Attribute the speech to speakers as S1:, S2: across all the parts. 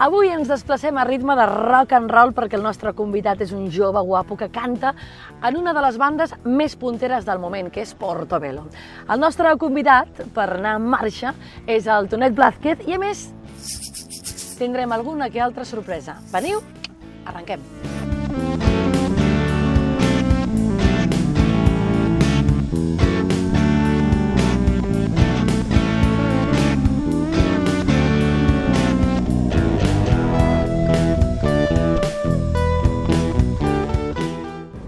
S1: Avui ens desplacem a ritme de rock and roll perquè el nostre convidat és un jove guapo que canta en una de les bandes més punteres del moment, que és Portobello. El nostre convidat per anar en marxa és el Tonet Blázquez i, a més, tindrem alguna que altra sorpresa. Veniu? Arrenquem.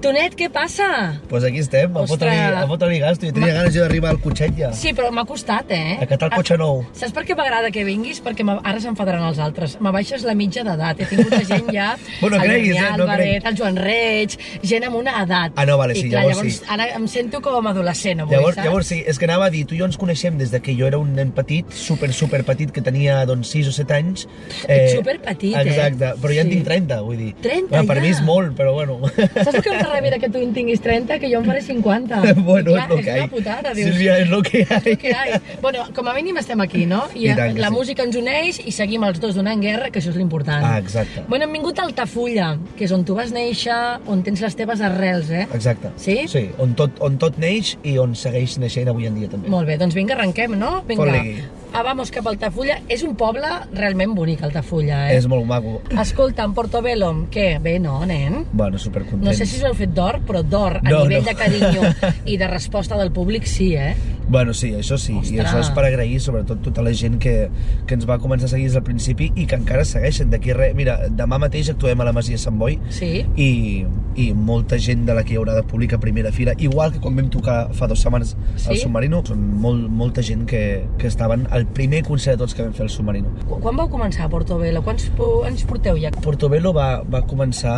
S1: Tonet, què passa?
S2: Pues aquí estem, a
S1: Ostres.
S2: fotre-li a fotre gasto. Jo tenia ganes jo d'arribar al cotxet ja.
S1: Sí, però m'ha costat, eh?
S2: A catar el cotxe nou.
S1: Saps per què m'agrada que vinguis? Perquè me- ara s'enfadaran els altres. Me baixes la mitja d'edat. He tingut la gent ja...
S2: Bueno,
S1: el
S2: creguis,
S1: Damià
S2: eh? No
S1: Álvarez,
S2: creguis.
S1: El Joan Reig, gent amb una edat.
S2: Ah, no, vale, sí,
S1: I clar,
S2: llavors
S1: llavors
S2: sí.
S1: ara em sento com adolescent avui,
S2: Llavors,
S1: saps?
S2: llavors sí, és que anava a dir, tu i jo ens coneixem des de que jo era un nen petit, super, super petit, que tenia doncs 6 o 7 anys.
S1: Ets superpetit, eh?
S2: Exacte, però ja en
S1: Sí.
S2: tinc 30, vull dir.
S1: 30
S2: bueno, Per
S1: ja?
S2: mi és molt, però bueno.
S1: Saps el que em fa ràbia que tu en tinguis 30, que jo en faré 50?
S2: bueno,
S1: clar,
S2: és
S1: Ah,
S2: lo que
S1: és
S2: hay.
S1: una putada, dius.
S2: Sílvia, és lo que
S1: és lo que
S2: hay.
S1: hay. Bueno, com a mínim estem aquí, no? I, eh,
S2: I tant que
S1: la
S2: sí.
S1: música ens uneix i seguim els dos donant guerra, que això és l'important.
S2: Ah, exacte.
S1: Bueno, hem vingut a Altafulla, que és on tu vas néixer, on tens les teves arrels, eh?
S2: Exacte.
S1: Sí?
S2: Sí, on tot, on tot neix i on segueix naixent avui en dia també.
S1: Molt bé, doncs vinga, arrenquem, no? Vinga.
S2: Fot-li.
S1: Ah, vamos cap a Altafulla. És un poble realment bonic, Altafulla, eh?
S2: És molt maco.
S1: Escolta, en Portobello, què? Bé, no, nen?
S2: Bueno, supercontents.
S1: No sé si us heu fet d'or, però d'or a
S2: No,
S1: nivell
S2: no.
S1: de carinyo i de resposta del públic sí, eh?
S2: Bueno, sí, això sí, i
S1: Ostres.
S2: això és per agrair sobretot tota la gent que, que ens va començar a seguir des del principi i que encara segueixen d'aquí a res. Mira, demà mateix actuem a la Masia Sant Boi
S1: Sí.
S2: i, i molta gent de la que hi haurà de públic a primera fila, igual que quan vam tocar fa dues setmanes al
S1: Sí?
S2: Submarino, són molt, molta gent que, que estaven al primer concert de tots que vam fer al Submarino.
S1: Qu- Quan vau començar a Portobello? Quants po- anys porteu ja?
S2: Portobello va, va començar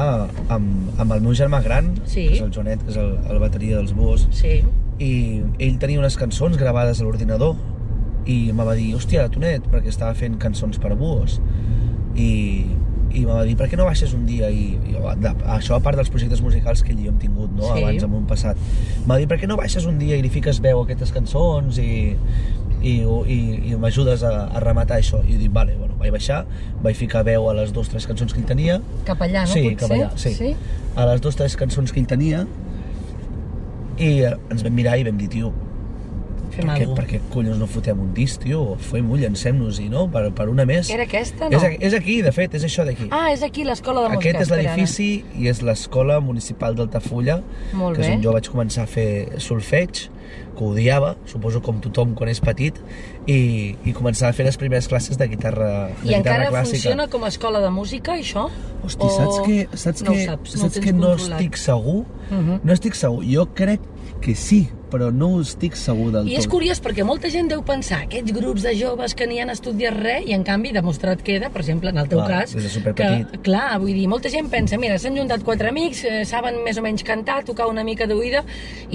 S2: amb, amb el meu germà gran,
S1: Sí.
S2: que és el Joanet, que és el, el bateria dels Búhos,
S1: Sí.
S2: i ell tenia unes cançons gravades a l'ordinador i em va dir, hòstia, Tonet, perquè estava fent cançons per buos i, i em va dir, per què no baixes un dia i, i jo, de, això a part dels projectes musicals que ell i jo hem tingut no?
S1: Sí.
S2: abans en un passat em va dir, per què no baixes un dia i li fiques veu a aquestes cançons i, i, ho- i, i m'ajudes a, a rematar això i jo dic, vale, bueno, vaig baixar vaig ficar veu a les dues o tres cançons que ell tenia
S1: Cap allà, no?
S2: sí,
S1: Potser?
S2: cap allà, sí.
S1: sí?
S2: A les dues tres cançons que ell tenia i eh, ens vam mirar i vam dir, tio,
S1: Fem
S2: per què,
S1: alguna
S2: per què collons no fotem un disc, tio? Fem-ho, llancem-nos-hi, no? Per, per una més.
S1: Era aquesta, no?
S2: és, a- és aquí, de fet, és això d'aquí.
S1: Ah, és aquí l'escola de música.
S2: Aquest és
S1: espera, ara.
S2: l'edifici i és l'escola municipal d'Altafulla,
S1: Molt
S2: que és
S1: bé.
S2: on jo vaig començar a fer solfeig, que ho odiava, suposo com tothom quan és petit, i, i començar a fer les primeres classes de guitarra, de
S1: I
S2: guitarra
S1: encara
S2: clàssica.
S1: funciona com a escola de música, això?
S2: Hosti, saps que, saps
S1: no
S2: que,
S1: ho saps, no ho
S2: saps
S1: tens
S2: que no
S1: controlat?
S2: estic segur?
S1: Mhm.
S2: No estic segur. Jo crec que sí, però no ho estic segur del
S1: I
S2: tot.
S1: és curiós perquè molta gent deu pensar aquests grups de joves que ni han estudiat res i en canvi demostrat queda, per exemple, en el teu
S2: Clar,
S1: cas,
S2: des de
S1: que,
S2: superpetit.
S1: clar, vull dir, molta gent pensa, mira, s'han juntat quatre amics, eh, saben més o menys cantar, tocar una mica d'oïda,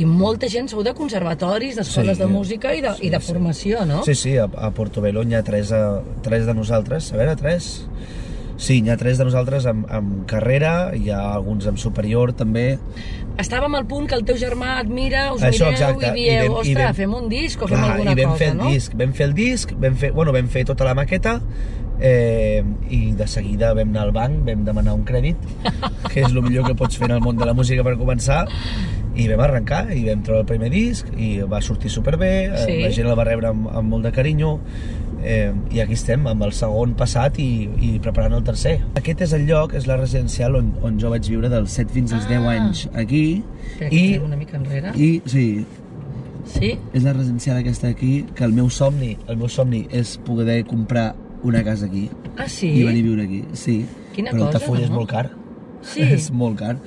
S1: i molta gent sou de conservatoris, d'escoles
S2: Sí, eh.
S1: de música i de,
S2: sí,
S1: i de
S2: sí.
S1: formació, no?
S2: Sí, sí, a, a Portobello n'hi ha tres, a, tres de nosaltres. A veure, tres? Sí, n'hi ha tres de nosaltres amb, amb carrera, hi ha alguns amb superior també.
S1: Estàvem al punt que el teu germà et mira, us
S2: Això,
S1: mireu
S2: exacte,
S1: i dieu,
S2: i vam- i
S1: ostres,
S2: vam-
S1: fem un disc o fem alguna
S2: i vam
S1: cosa,
S2: fer el
S1: no?
S2: disc, vam fer el disc, vam fer, bueno, vam fer tota la maqueta, eh, i de seguida vam anar al banc, vam demanar un crèdit, que és el millor que pots fer en el món de la música per començar, i vam arrencar, i vam treure el primer disc, i va sortir superbé, eh,
S1: Sí.
S2: la gent el va rebre amb, amb molt de carinyo, eh, i aquí estem, amb el segon passat i, i preparant el tercer. Aquest és el lloc, és la residencial on, on jo vaig viure dels 7 fins als 10
S1: Ah.
S2: anys aquí,
S1: Espera, que
S2: i,
S1: tirem una mica enrere.
S2: i sí,
S1: Sí?
S2: és la residencial aquesta aquí, que el meu somni, el meu somni és poder comprar una casa aquí
S1: Ah, sí?
S2: i venir a viure aquí, sí.
S1: Quina
S2: Però
S1: cosa,
S2: Altafulla és
S1: no?
S2: molt car.
S1: Sí.
S2: És molt car.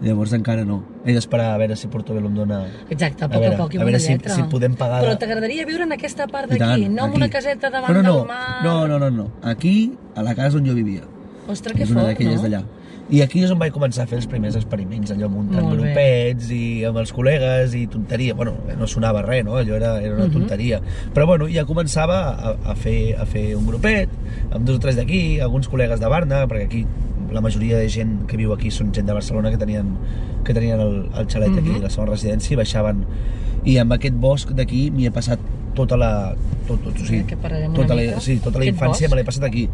S2: Llavors encara no. He d'esperar a veure si Portobello em dona...
S1: Exacte, a
S2: A
S1: poc a,
S2: veure,
S1: poc i
S2: a
S1: bona
S2: veure si-
S1: lletra.
S2: si podem pagar
S1: Però
S2: la-
S1: t'agradaria viure en aquesta part
S2: I tant,
S1: d'aquí, no en una caseta davant
S2: no, no,
S1: del mar.
S2: No, no, no, no. Aquí, a la casa on jo vivia.
S1: Ostres, que
S2: és una
S1: fort,
S2: d'aquelles
S1: no?
S2: d'allà. I aquí és on vaig començar a fer els primers experiments, allò muntant
S1: Molt bé.
S2: grupets i amb els col·legues i tonteria. Bueno, no sonava res, no? Allò era, era una
S1: Mhm.
S2: tonteria. Però bueno, ja començava a, a, fer, a fer un grupet, amb dos o tres d'aquí, alguns col·legues de Barna, perquè aquí la majoria de gent que viu aquí són gent de Barcelona que tenien, que tenien el, el xalet aquí,
S1: Mhm.
S2: la segona residència, i baixaven. I amb aquest bosc d'aquí m'hi he passat tota la... Tot, tot, o sigui,
S1: Que pararem una
S2: tota la,
S1: mica.
S2: sí, tota la
S1: Aquest
S2: infància
S1: bosc.
S2: me l'he passat aquí.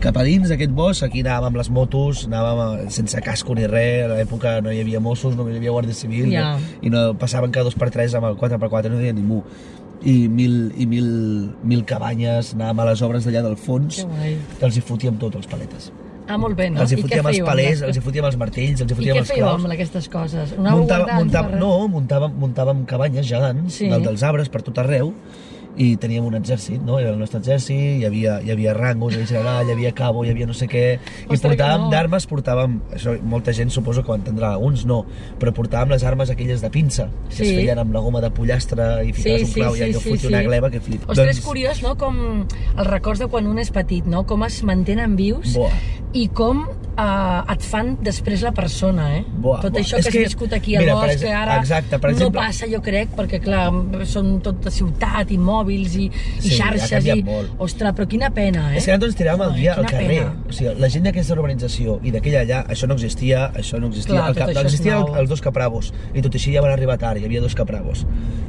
S2: cap a dins d'aquest bosc, aquí anàvem amb les motos, anàvem eh, sense casco ni res, a l'època no hi havia Mossos, no hi havia Guàrdia Civil,
S1: Ja.
S2: no, i no passaven cada dos per tres amb el 4x4, no hi havia ningú. I mil, i mil, mil cabanyes, anàvem a les obres d'allà del fons,
S1: Que guai.
S2: que els hi fotíem tot, els paletes.
S1: Ah, molt bé, no?
S2: Els hi
S1: I què
S2: fotíem els
S1: fèieu amb
S2: palers,
S1: les-
S2: els hi fotíem els martells, els hi
S1: I
S2: fotíem
S1: què
S2: els
S1: fèieu
S2: claus.
S1: amb aquestes coses? Anàveu
S2: Muntava,
S1: guardant
S2: muntàvem,
S1: per-
S2: no, muntàvem, muntàvem cabanyes gegants
S1: Sí.
S2: sí. dalt dels arbres per tot arreu i teníem un exèrcit, no? Era el nostre exèrcit, hi havia, hi havia rangos, hi havia general, hi havia cabo, hi havia no sé què... I
S1: Ostres, que
S2: portàvem
S1: bo.
S2: d'armes, portàvem... Això molta gent suposo que ho entendrà, alguns no, però portàvem les armes aquelles de pinça, que
S1: Sí.
S2: es feien amb la goma de pollastre i ficaves un clau i allò fotia una gleba que flip.
S1: Ostres, doncs... és curiós, no?, com els records de quan un és petit, no?, com es mantenen vius
S2: Buah.
S1: i com eh, et fan després la persona, eh?
S2: Buah,
S1: tot
S2: buah.
S1: això
S2: És
S1: que has
S2: que,
S1: viscut aquí al
S2: mira, per
S1: bosc,
S2: ex-
S1: que ara
S2: exacte, per exemple-
S1: no passa, jo crec, perquè, clar, són tot de ciutat i mòbils i, i
S2: Sí, ha
S1: xarxes
S2: canviat
S1: i...
S2: molt.
S1: Ostres, però quina pena, eh?
S2: És que nosaltres tiràvem el
S1: Joder,
S2: dia al
S1: quina
S2: carrer.
S1: pena.
S2: O sigui, la gent d'aquesta urbanització i d'aquella allà, això no existia, això no existia.
S1: Clar,
S2: el
S1: tot
S2: cap,
S1: això és
S2: existien el-
S1: nou.
S2: els dos capravos, i tot així ja van arribar tard, hi havia dos capravos.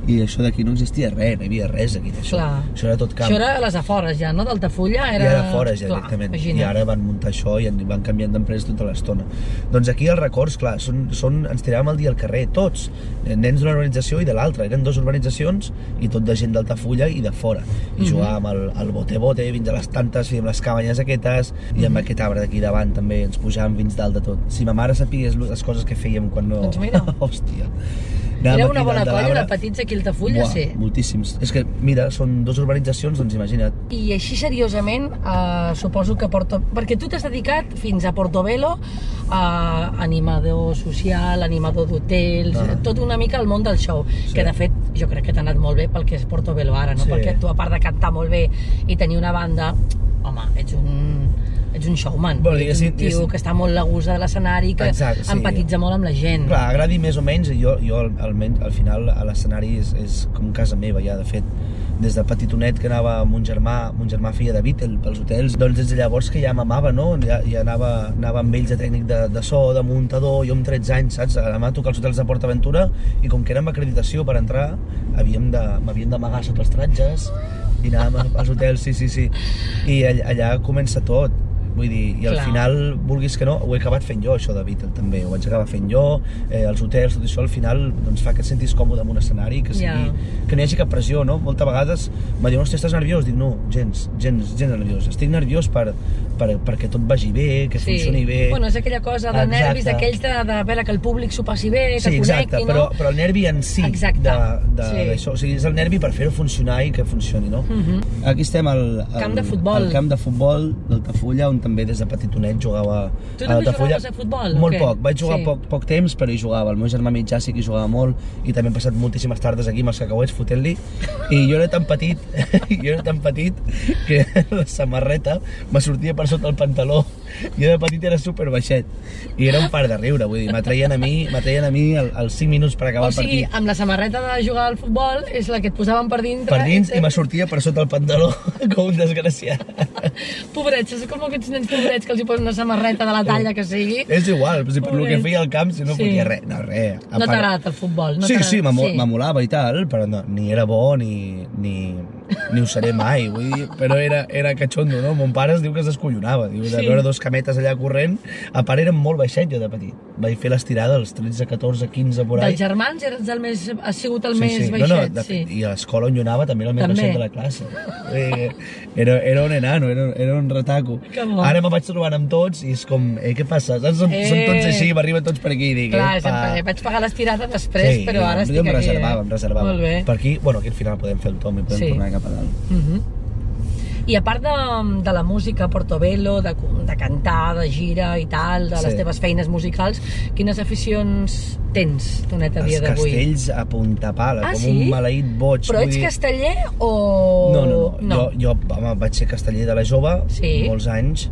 S2: I això d'aquí no existia res, no hi havia res aquí d'això.
S1: Clar.
S2: Això era tot camp.
S1: Això era a les afores, ja, no? D'Altafulla
S2: I
S1: era...
S2: ara fora, ja,
S1: Clar,
S2: directament.
S1: imagina't.
S2: I ara van muntar això i en van canviant d'empresa tota l'estona. Doncs aquí els records, clar, són, són, ens tiràvem el dia al carrer, tots, eh, nens d'una urbanització i de l'altra. Eren dues urbanitzacions i tot de gent d'Altafulla i de fora.
S1: Mhm.
S2: I jugàvem al, al bote-bote, fins a les tantes, fèiem les cabanyes aquestes, i
S1: Mhm.
S2: amb aquest arbre d'aquí davant també ens pujàvem fins dalt de tot. Si ma mare sapigués les coses que fèiem quan no...
S1: Doncs mira.
S2: Hòstia.
S1: Era
S2: Anàvem
S1: una
S2: aquí
S1: bona
S2: dalt de
S1: colla de
S2: l'arbre.
S1: petits aquí a Altafulla,
S2: Buah,
S1: sí.
S2: moltíssims. És que, mira, són dues urbanitzacions, doncs imagina't,
S1: I així seriosament, eh, suposo que Porto... Perquè tu t'has dedicat fins a Portobelo a animador social, animador d'hotels, ah.
S2: Ah.
S1: tot una mica el món del show, sí.
S2: Sí.
S1: que de fet jo crec que t'ha anat molt bé pel que és Portobelo ara, no? Sí.
S2: Sí.
S1: Perquè tu, a part de cantar molt bé i tenir una banda, home, ets un ets un showman, ets un
S2: Bueno, diguéssim,
S1: tio
S2: diguéssim.
S1: que està molt a gust de l'escenari, que
S2: Exacte, sí.
S1: empatitza molt amb la gent.
S2: Clar, agradi més o menys, jo, jo al- almenys al final a l'escenari és, és com casa meva ja, de fet des de petitonet que anava amb un germà, amb un germà feia de Beatle pels hotels, doncs des de llavors que ja m'amava, no? Ja, ja anava, anava amb ells de tècnic de, de so, de muntador, jo amb 13 anys, saps? Anava a tocar els hotels de Port Aventura i com que era amb acreditació per entrar, havíem de- m'havien d'amagar sota els tratges i anàvem als hotels, sí, sí, sí. I all- allà comença tot. Vull dir, i al
S1: Clar.
S2: Clar. final final, vulguis que no, ho he acabat fent jo, això de Beatle, també. Ho vaig acabar fent jo, eh, els hotels, tot això, al final, doncs fa que et sentis còmode en un escenari, que, sigui,
S1: Ja.
S2: que no hi hagi cap pressió, no? Moltes vegades em diuen, hòstia, estàs nerviós? Dic, no, gens, gens, gens nerviós. Estic nerviós per, per, perquè tot vagi bé, que funcioni bé.
S1: Bueno, és aquella cosa de
S2: Exacte.
S1: nervis, d'aquells de, de, veure que el públic s'ho passi bé, que
S2: sí, exacte,
S1: connecti, no?
S2: però, però el nervi en si
S1: Exacte,
S2: de, de,
S1: sí.
S2: sí. o sigui, és el nervi per fer-ho funcionar i que funcioni, no?
S1: Mhm.
S2: Aquí estem al, al
S1: Camp de futbol.
S2: al camp de futbol d'Altafulla, on també des de petitonet jugava
S1: Tu
S2: a
S1: també
S2: Altafulla.
S1: jugaves a futbol, o
S2: Molt
S1: què?
S2: poc, vaig jugar
S1: Sí.
S2: sí. poc, poc temps, però hi jugava. El meu germà mitjà sí que hi jugava molt i també he passat moltíssimes tardes aquí amb els cacauets fotent-li i jo era tan petit, jo era tan petit que la samarreta me sortia per sota el pantaló. Jo de petit era super baixet i era un par de riure, vull dir, m'atreien a mi, m'atreien a mi el- els 5 minuts per acabar
S1: O sigui,
S2: el partit
S1: amb la samarreta de jugar al futbol és la que et posaven per dintre.
S2: per dins
S1: te-
S2: i me sortia per sota el pantaló com un desgraciat.
S1: Pobrets, és com aquests nens pobrets que els hi posen una samarreta de la talla que sigui.
S2: És igual, si per el que
S1: Pobret.
S2: feia al camp, si no
S1: Sí.
S2: sí. fotia res, no, res. A
S1: No
S2: part-
S1: t'ha agradat el futbol? No
S2: sí,
S1: t'ha
S2: sí,
S1: agradat-
S2: m'amo- m'amolava i tal, però no, ni era bo ni, ni, ni ho seré mai, vull dir, però era, era catxondo, no? Mon pare es diu que es descollonava, diu, de
S1: Sí.
S2: veure dos cametes allà corrent, a part érem molt baixet jo de petit, vaig fer l'estirada als 13, 14, 15, por ahí.
S1: Dels germans eres el més, has sigut el més
S2: no,
S1: baixet,
S2: no, de, fet,
S1: sí.
S2: I a l'escola on jo anava també era el més
S1: També.
S2: baixet de la classe. Eh, Era, era un enano, era, era un retaco.
S1: Que bo.
S2: Ara me vaig trobant amb tots i és com, eh, què passa? Saps? Són, eh. són tots
S1: Eh.
S2: així, m'arriben tots per aquí i dic,
S1: Clar,
S2: epa.
S1: sempre, vaig pagar l'estirada després, però
S2: jo-
S1: ara estic
S2: jo em
S1: aquí.
S2: reservava,
S1: eh?
S2: em reservava.
S1: Molt bé.
S2: Per aquí, bueno, aquí al final podem fer el tom i podem
S1: Sí.
S2: sí. tornar cap a dalt.
S1: Mhm. I a part de, de la música, Portobello, de, de cantar, de gira i tal, de les
S2: Sí.
S1: teves feines musicals, quines aficions tens, Tonet, a dia
S2: Els
S1: d'avui?
S2: castells a punta pala,
S1: Ah,
S2: com
S1: sí?
S2: un maleït boig.
S1: Però
S2: vull
S1: ets
S2: dir-
S1: casteller o...?
S2: No, no, no. Jo, jo home, vaig ser casteller de la jove,
S1: Sí.
S2: molts anys,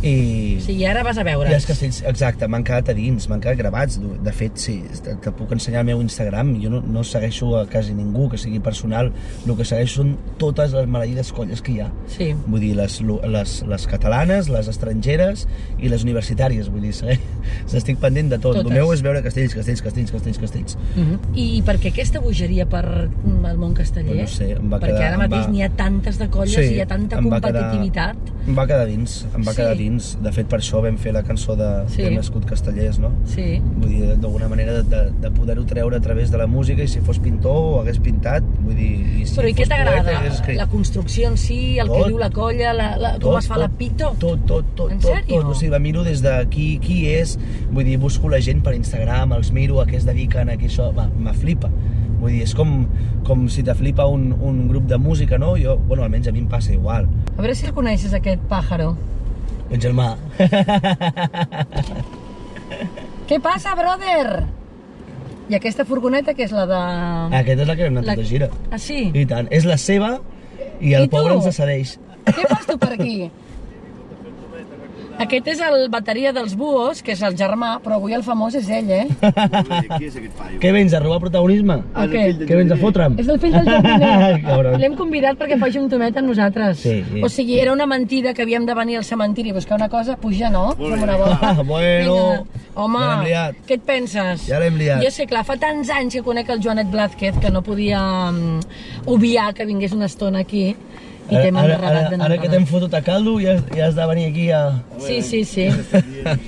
S2: i...
S1: O sigui, ara vas a veure.
S2: I els castells, exacte, m'han quedat a dins, m'han quedat gravats. De fet, sí, te, te puc ensenyar el meu Instagram. Jo no, no segueixo a quasi ningú que sigui personal. El que segueixo són totes les maleïdes colles que hi ha.
S1: Sí.
S2: Vull dir, les, lo- les, les catalanes, les estrangeres i les universitàries. Vull dir, eh? estic pendent de tot.
S1: Totes.
S2: El meu és veure castells, castells, castells, castells, castells.
S1: Uh -huh. I per què aquesta bogeria per mm, el món casteller?
S2: Doncs no sé, em va
S1: Perquè
S2: quedar-
S1: ara
S2: em
S1: mateix
S2: va-
S1: n'hi ha tantes de colles
S2: Sí,
S1: i hi ha tanta
S2: em va quedar-
S1: competitivitat.
S2: Em va quedar dins, em va
S1: Sí.
S2: quedar dins. De fet, per això vam fer la cançó de,
S1: Sí.
S2: de Nascut Castellers, no?
S1: Sí.
S2: Vull dir, d'alguna manera de, de, de poder-ho treure a través de la música i si fos pintor ho hagués pintat, vull dir... I si
S1: Però i
S2: fos
S1: què t'agrada?
S2: poeta, hagués escrit.
S1: La construcció en si, el
S2: Tot.
S1: que diu la colla, la, la, com
S2: Tot,
S1: es fa la
S2: tot,
S1: pito?
S2: Tot, tot, tot,
S1: En
S2: tot,
S1: sèrio?
S2: tot. O sigui, la miro des de qui, qui és, vull dir, busco la gent per Instagram, els miro, a què es dediquen, a què això... Va, me flipa. Vull dir, és com, com si te flipa un, un grup de música, no? Jo, bueno, almenys a mi em passa igual.
S1: A veure si el coneixes, aquest pàjaro.
S2: El germà.
S1: Què passa, brother? I aquesta furgoneta, que és la de...
S2: Aquesta és la que hem anat
S1: Ah. La-
S2: la... de gira.
S1: Ah, sí?
S2: I tant. És la seva i el
S1: I tu?
S2: pobre ens accedeix.
S1: Què fas tu per aquí? Aquest és el bateria dels buos, que és el germà, però avui el famós és ell, eh?
S3: Qui és aquest paio?
S2: Què vens, a robar protagonisme?
S3: Ah, és el
S1: Ok.
S3: fill de
S2: Què vens, a
S3: Llobregat.
S2: fotre'm?
S1: És el fill del jardiner.
S2: Cabron.
S1: L'hem convidat perquè faci un tomet amb nosaltres.
S2: Sí, sí.
S1: O sigui, era una mentida que havíem de venir al cementiri a buscar una cosa, puja, no?
S3: Molt bé.
S1: Som una bola.
S2: Ah, bueno.
S1: Vinga, home,
S2: Ja l'hem liat.
S1: què et penses?
S2: Ja l'hem liat.
S1: Jo sé, clar, fa tants anys que conec el Joanet Blázquez que no podia mm, obviar que vingués una estona aquí i t'hem
S2: Eh, ara, ara,
S1: enreddat de
S2: ara que
S1: Nadal.
S2: t'hem fotut a caldo ja, has- ja has de venir aquí a...
S1: Sí, sí, sí.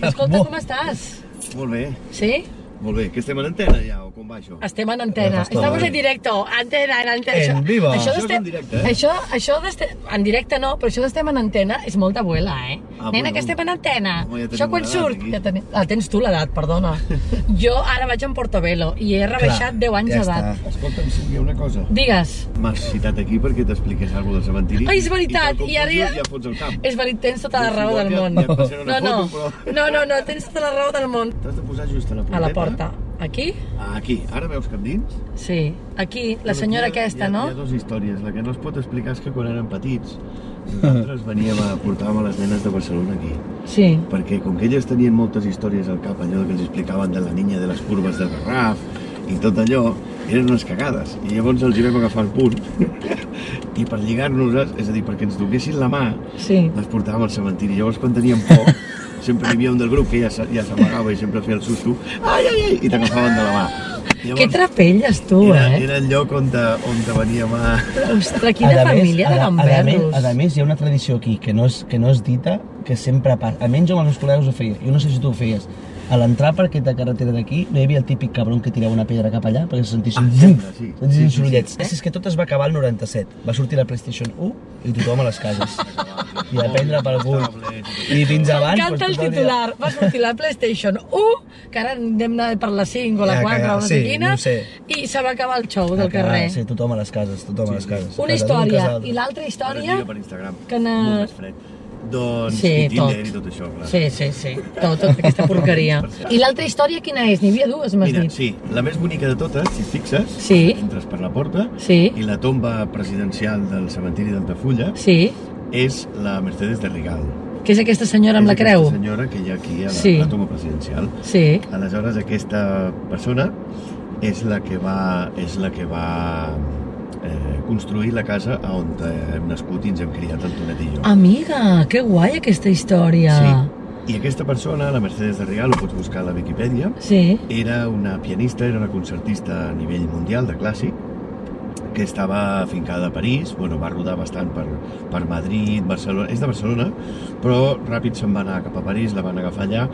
S1: Escolta, com estàs?
S3: Molt bé,
S1: Sí?
S3: molt bé. Que estem en antena ja, o com va això?
S1: Estem en antena.
S2: Estamos
S1: Estamos en
S2: en-
S1: directo. Antena, en antena.
S2: En
S1: Això-
S2: viva.
S1: Això,
S3: Això és
S1: d'estem-
S3: en directe, eh?
S1: Això, això d'este- en directe no, però això d'estem en antena és molt d'abuela, eh? Nena,
S3: Ah, bueno.
S1: que estem en antena.
S3: Home, ja tenim
S1: això quan
S3: una edat,
S1: surt...
S3: aquí.
S1: Ja tenim... Ah, tens tu l'edat, perdona. jo ara vaig en Portobelo i he rebaixat 10 anys
S2: ja
S1: d'edat.
S2: està.
S3: Escolta'm, Sílvia, una cosa.
S1: Digues.
S3: M'has citat aquí perquè t'expliqués alguna cosa del cementiri.
S1: Ai, Ah, és veritat,
S3: I,
S1: i ara
S3: ja...
S1: ja-
S3: ja fots el cap.
S1: És veritat, tens tota la
S3: Jo
S1: raó
S3: igual
S1: del
S3: ja-
S1: món.
S3: ja et passaré
S1: no,
S3: una
S1: no.
S3: foto, però-
S1: no, no, no, tens tota la raó del món.
S3: T'has de posar just a la porteta.
S1: A la porta. Aquí?
S3: Ah, aquí. Ara veus cap dins?
S1: Sí. Aquí, la
S3: Però
S1: senyora
S3: aquí hi ha-
S1: aquesta,
S3: hi ha,
S1: no?
S3: Hi ha dues històries. La que no es pot explicar és que quan érem petits nosaltres veníem a portàvem a les nenes de Barcelona aquí.
S1: Sí.
S3: Perquè com que elles tenien moltes històries al cap, allò que els explicaven de la niña de les curves del Garraf i tot allò, eren unes cagades. I llavors els hi vam agafar el punt i per lligar-nos, és a dir, perquè ens duguessin la mà,
S1: Sí.
S3: les portàvem al cementiri. Llavors, quan teníem por, sempre hi havia un del grup que ja, s- ja s'amagava i sempre feia el susto, ai, ai, ai, i t'agafaven de la mà.
S1: Que trapelles, tu,
S3: era,
S1: eh?
S3: era el lloc on, te, on te veníem a...
S1: Ostres, quina família de
S2: a, més,
S1: gamberros.
S2: a més, hi ha una tradició aquí que no és, que no és dita, que sempre passa. Almenys jo amb els meus col·legues ho feia. Jo no sé si tu ho feies. A l'entrar per aquesta carretera d'aquí no hi havia el típic cabron que tirava una pedra cap allà perquè se sentissin
S3: Ah,
S2: ah,
S3: sempre, sí.
S2: sí. sentissin
S3: Sí, sí, sí.
S2: sorollets.
S1: Eh?
S2: Sí, És que tot es va acabar el 97. Va sortir la PlayStation 1 i tothom a les cases. I a prendre pel cul. I fins abans...
S1: M'encanta el
S2: doncs, tothom
S1: titular. Va sortir la PlayStation 1, que ara anem anar per la 5 o la
S2: Ja, que-
S1: 4 o no sé
S2: sí,
S1: quina,
S2: no sé.
S1: i se va acabar el show
S2: ja-
S1: del carrer.
S2: Sí, tothom a les cases, tothom a les cases.
S1: Una
S2: Casa d'un,
S1: història.
S2: casa d'altre.
S1: I l'altra
S3: Ara es
S1: història...
S3: lliga per Instagram.
S1: que na-
S3: Molt més fred. Doncs,
S1: Sí,
S3: i Tinder
S1: tot.
S3: i tot això, clar.
S1: Sí, sí, sí. Tot, tota aquesta porqueria. I l'altra història quina és? N'hi havia dues, m'has
S3: Mira,
S1: dit.
S3: sí, la més bonica de totes, si et fixes,
S1: Sí.
S3: entres per la porta
S1: Sí.
S3: i la tomba presidencial del cementiri d'Altafulla
S1: Sí.
S3: és la Mercedes de Rigal.
S1: Que és aquesta senyora amb la
S3: és aquesta
S1: creu.
S3: senyora que hi ha aquí a la,
S1: Sí.
S3: la tomba presidencial.
S1: Sí.
S3: Aleshores, aquesta persona és la que va, és la que va eh, construir la casa a on hem nascut i ens hem criat Antonet i jo.
S1: Ah, Amiga, que guai aquesta història.
S3: I aquesta persona, la Mercedes de Rigal, ho pots buscar a la Viquipèdia,
S1: Sí.
S3: Era una pianista, era una concertista a nivell mundial de clàssic, que estava afincada a París, bueno, va rodar bastant per, per Madrid, Barcelona, és de Barcelona, però ràpid se'n va anar cap a París, la van agafar allà,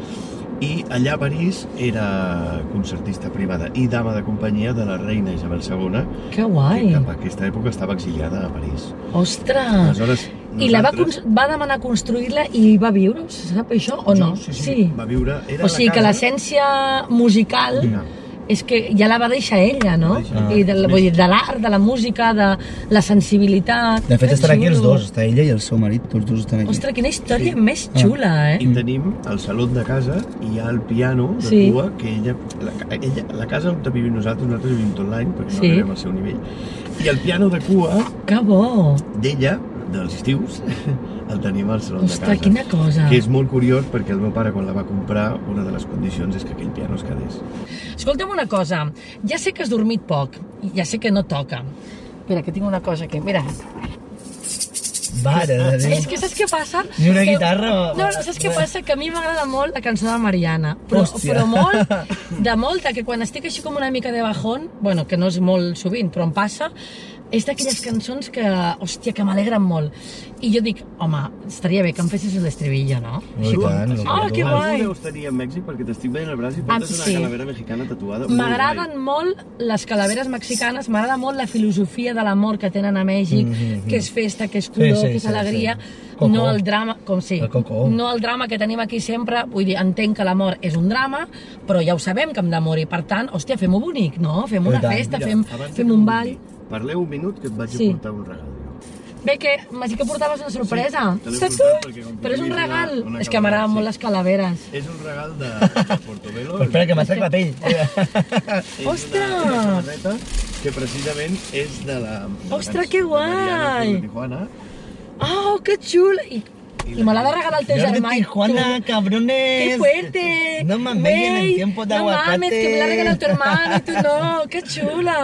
S3: i allà a París era concertista privada i dama de companyia de la reina Isabel II,
S1: Que
S3: que
S1: guai.
S3: cap a aquesta època estava exiliada a París.
S1: Ostres.
S3: Aleshores,
S1: Ah. I la va,
S3: nosaltres-
S1: cons- va demanar construir-la i va viure, se sap això o no?
S3: Sí, sí, sí, va viure... Era
S1: O sigui que
S3: casa-
S1: l'essència musical és que ja la va deixar ella, no?
S3: La va deixar.
S1: I de, la- vull dir, de l'art, de la música, de la sensibilitat...
S2: De fet,
S1: Que
S2: estan aquí els
S1: xulo.
S2: dos, està ella i el seu marit, tots dos estan aquí.
S1: Ostres, quina història
S3: Sí. Ah.
S1: més xula,
S3: I
S1: eh?
S3: tenim el saló de casa i hi ha el piano de
S1: Sí.
S3: sí. cua que ella la, ella... la casa on vivim nosaltres, nosaltres vivim tot l'any perquè
S1: Sí.
S3: no arribem al seu nivell. I el piano de cua
S1: Que bo!
S3: d'ella, dels estius, el tenim al saló de
S1: Ostres,
S3: casa.
S1: quina cosa!
S3: Que és molt curiós perquè el meu pare quan la va comprar una de les condicions és que aquell piano es quedés.
S1: Escolta'm una cosa, ja sé que has dormit poc, i ja sé que no toca. Mira, que tinc una cosa que... Mira,
S2: Mare de Déu.
S1: És que saps què passa?
S2: Ni una
S1: Que-
S2: guitarra.
S1: No, no, saps què passa? Que a mi m'agrada molt la cançó de Mariana, però,
S2: Hòstia.
S1: però molt, de molta, que quan estic així com una mica de bajón, bueno, que no és molt sovint, però em passa, és d'aquelles cançons que, hòstia, que m'alegren molt. I jo dic, home, estaria bé que em fessis l'estribillo, no?
S2: Oh,
S4: No, Oh, i tant, no,
S1: Ah, que guai. Ah,
S3: Algú deus tenir a Mèxic perquè t'estic veient el braç i portes
S1: sí.
S3: una calavera mexicana tatuada. Molt
S1: M'agraden molt les calaveres mexicanes, m'agrada molt la filosofia de l'amor que tenen a
S3: Mhm,
S1: Mèxic, que és festa, que és color,
S4: sí,
S1: que és
S4: sí,
S1: alegria,
S4: sí. Coco.
S1: no el drama, com sí,
S4: El coco.
S1: no el drama que tenim aquí sempre, vull dir, entenc que l'amor és un drama, però ja ho sabem que hem de morir, per tant, hòstia, fem-ho bonic, no? Fem
S4: I
S1: una
S4: tant.
S1: festa,
S3: Mira,
S1: fem,
S3: abans de
S1: fem un
S3: que
S1: ball...
S3: vulgui, Parleu un minut que et vaig
S1: Sí.
S3: a portar un regal. jo.
S1: Bé, que m'has dit que portaves una sorpresa.
S3: te l'he
S1: Saps
S3: portat
S1: tu?
S3: perquè com que
S1: Però és un
S3: tinguis una-
S1: regal.
S3: una
S1: és que m'agraden
S3: calavera,
S1: molt
S3: sí.
S1: les calaveres.
S3: És un regal de, de Portobelo.
S4: Però espera, que m'atrec la pell.
S3: És
S1: Ostres!
S3: Una, una samarreta que precisament és de la... de la
S1: Ostres,
S3: cançó
S1: que
S3: de Mariana
S1: guai!
S3: Cruz de Tijuana. Ah,
S1: Oh, que xul! I, i me l'ha de regalar el teu
S2: Yo de
S1: germà. i tu.
S2: Tijuana, cabrones.
S1: ¡Qué fuerte!
S2: No mames, en el
S1: Güey,
S2: tiempo de
S1: no
S2: aguacate.
S1: mames, que me la regaló tu hermano y tú no. ¡Qué chula!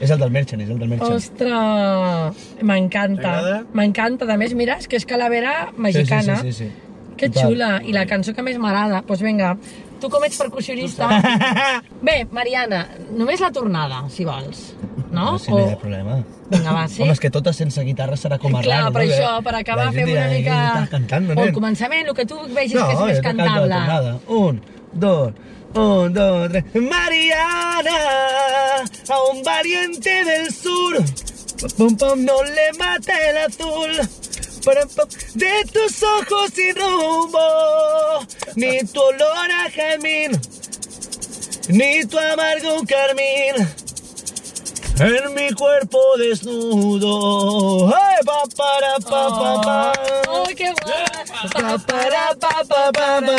S4: És el del Merchant, és el del Merchant.
S1: ¡Ostras! M'encanta.
S3: T'agrada?
S1: M'encanta. A més, mira, és que és calavera mexicana.
S4: Sí, sí, sí, sí, sí.
S1: Que
S4: Total.
S1: xula. I la cançó que més m'agrada. Doncs pues vinga, tu com ets percussionista... Bé, Mariana, només la tornada, si vols. No?
S2: No, si no hi ha problema.
S1: Vinga, va, sí?
S2: Home, és que totes sense guitarra serà com
S1: Clar,
S2: Arlan,
S1: per
S2: no?
S1: això, per acabar,
S2: La gent
S1: fem una
S2: dirà,
S1: mica...
S2: "Eh, Estàs cantant,
S1: o
S2: nen?"
S1: el començament, el que tu vegis
S2: No,
S1: que és
S2: jo
S1: més
S2: canto la
S1: cantable.
S2: tornada. Un, dos, un, dos, tres. Mariana, a un valiente del sur, pum, pum, no le mata el azul. Pum, pum, De tus ojos sin rumbo, ni tu olor a jazmín, ni tu amargo carmín. En mi cuerpo desnudo, ¡ay, pa, para, pa, pa, pa!
S1: Oh, que guai!
S2: Pa, para, pa, pa, pa, pa.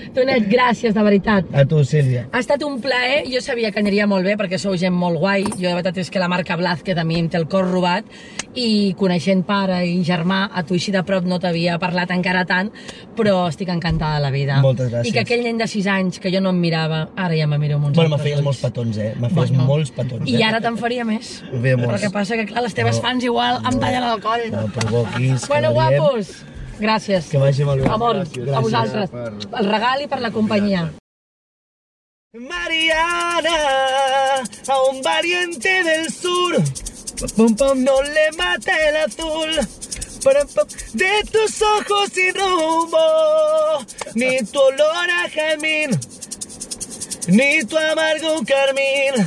S1: Tonet, gràcies, de veritat.
S4: A tu, Sílvia.
S1: Ha estat un plaer, jo sabia que aniria molt bé perquè sou gent molt guai, jo de veritat és que la marca Blázquez a mi em té el cor robat i coneixent pare i germà, a tu així de prop no t'havia parlat encara tant, però estic encantada de la vida.
S2: Moltes
S1: I
S2: gràcies.
S1: que aquell nen de 6 anys que jo no em mirava, ara ja me miro amb uns
S2: Bueno, me
S1: altres
S2: feies
S1: ulls.
S2: molts petons, eh? Me feies molts petons, eh?
S1: I ara te'n faria més.
S4: Bé,
S1: Però
S4: molts.
S1: que passa que, clar, les teves fans igual em tallen el coll.
S4: No provoquis. que
S1: bueno,
S4: no diem.
S1: guapos, gràcies.
S4: Que vagi molt bé.
S1: Amor,
S3: Gràcies.
S1: a vosaltres.
S3: Gràcies per-
S1: El regal i per la companyia.
S2: Mariana, a un valiente del sur, pum pum no le mata el azul. Pum, pum, De tus ojos sin rumbo, ni tu olor a jazmín, ni tu amargo carmín,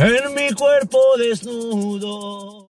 S2: en mi cuerpo desnudo.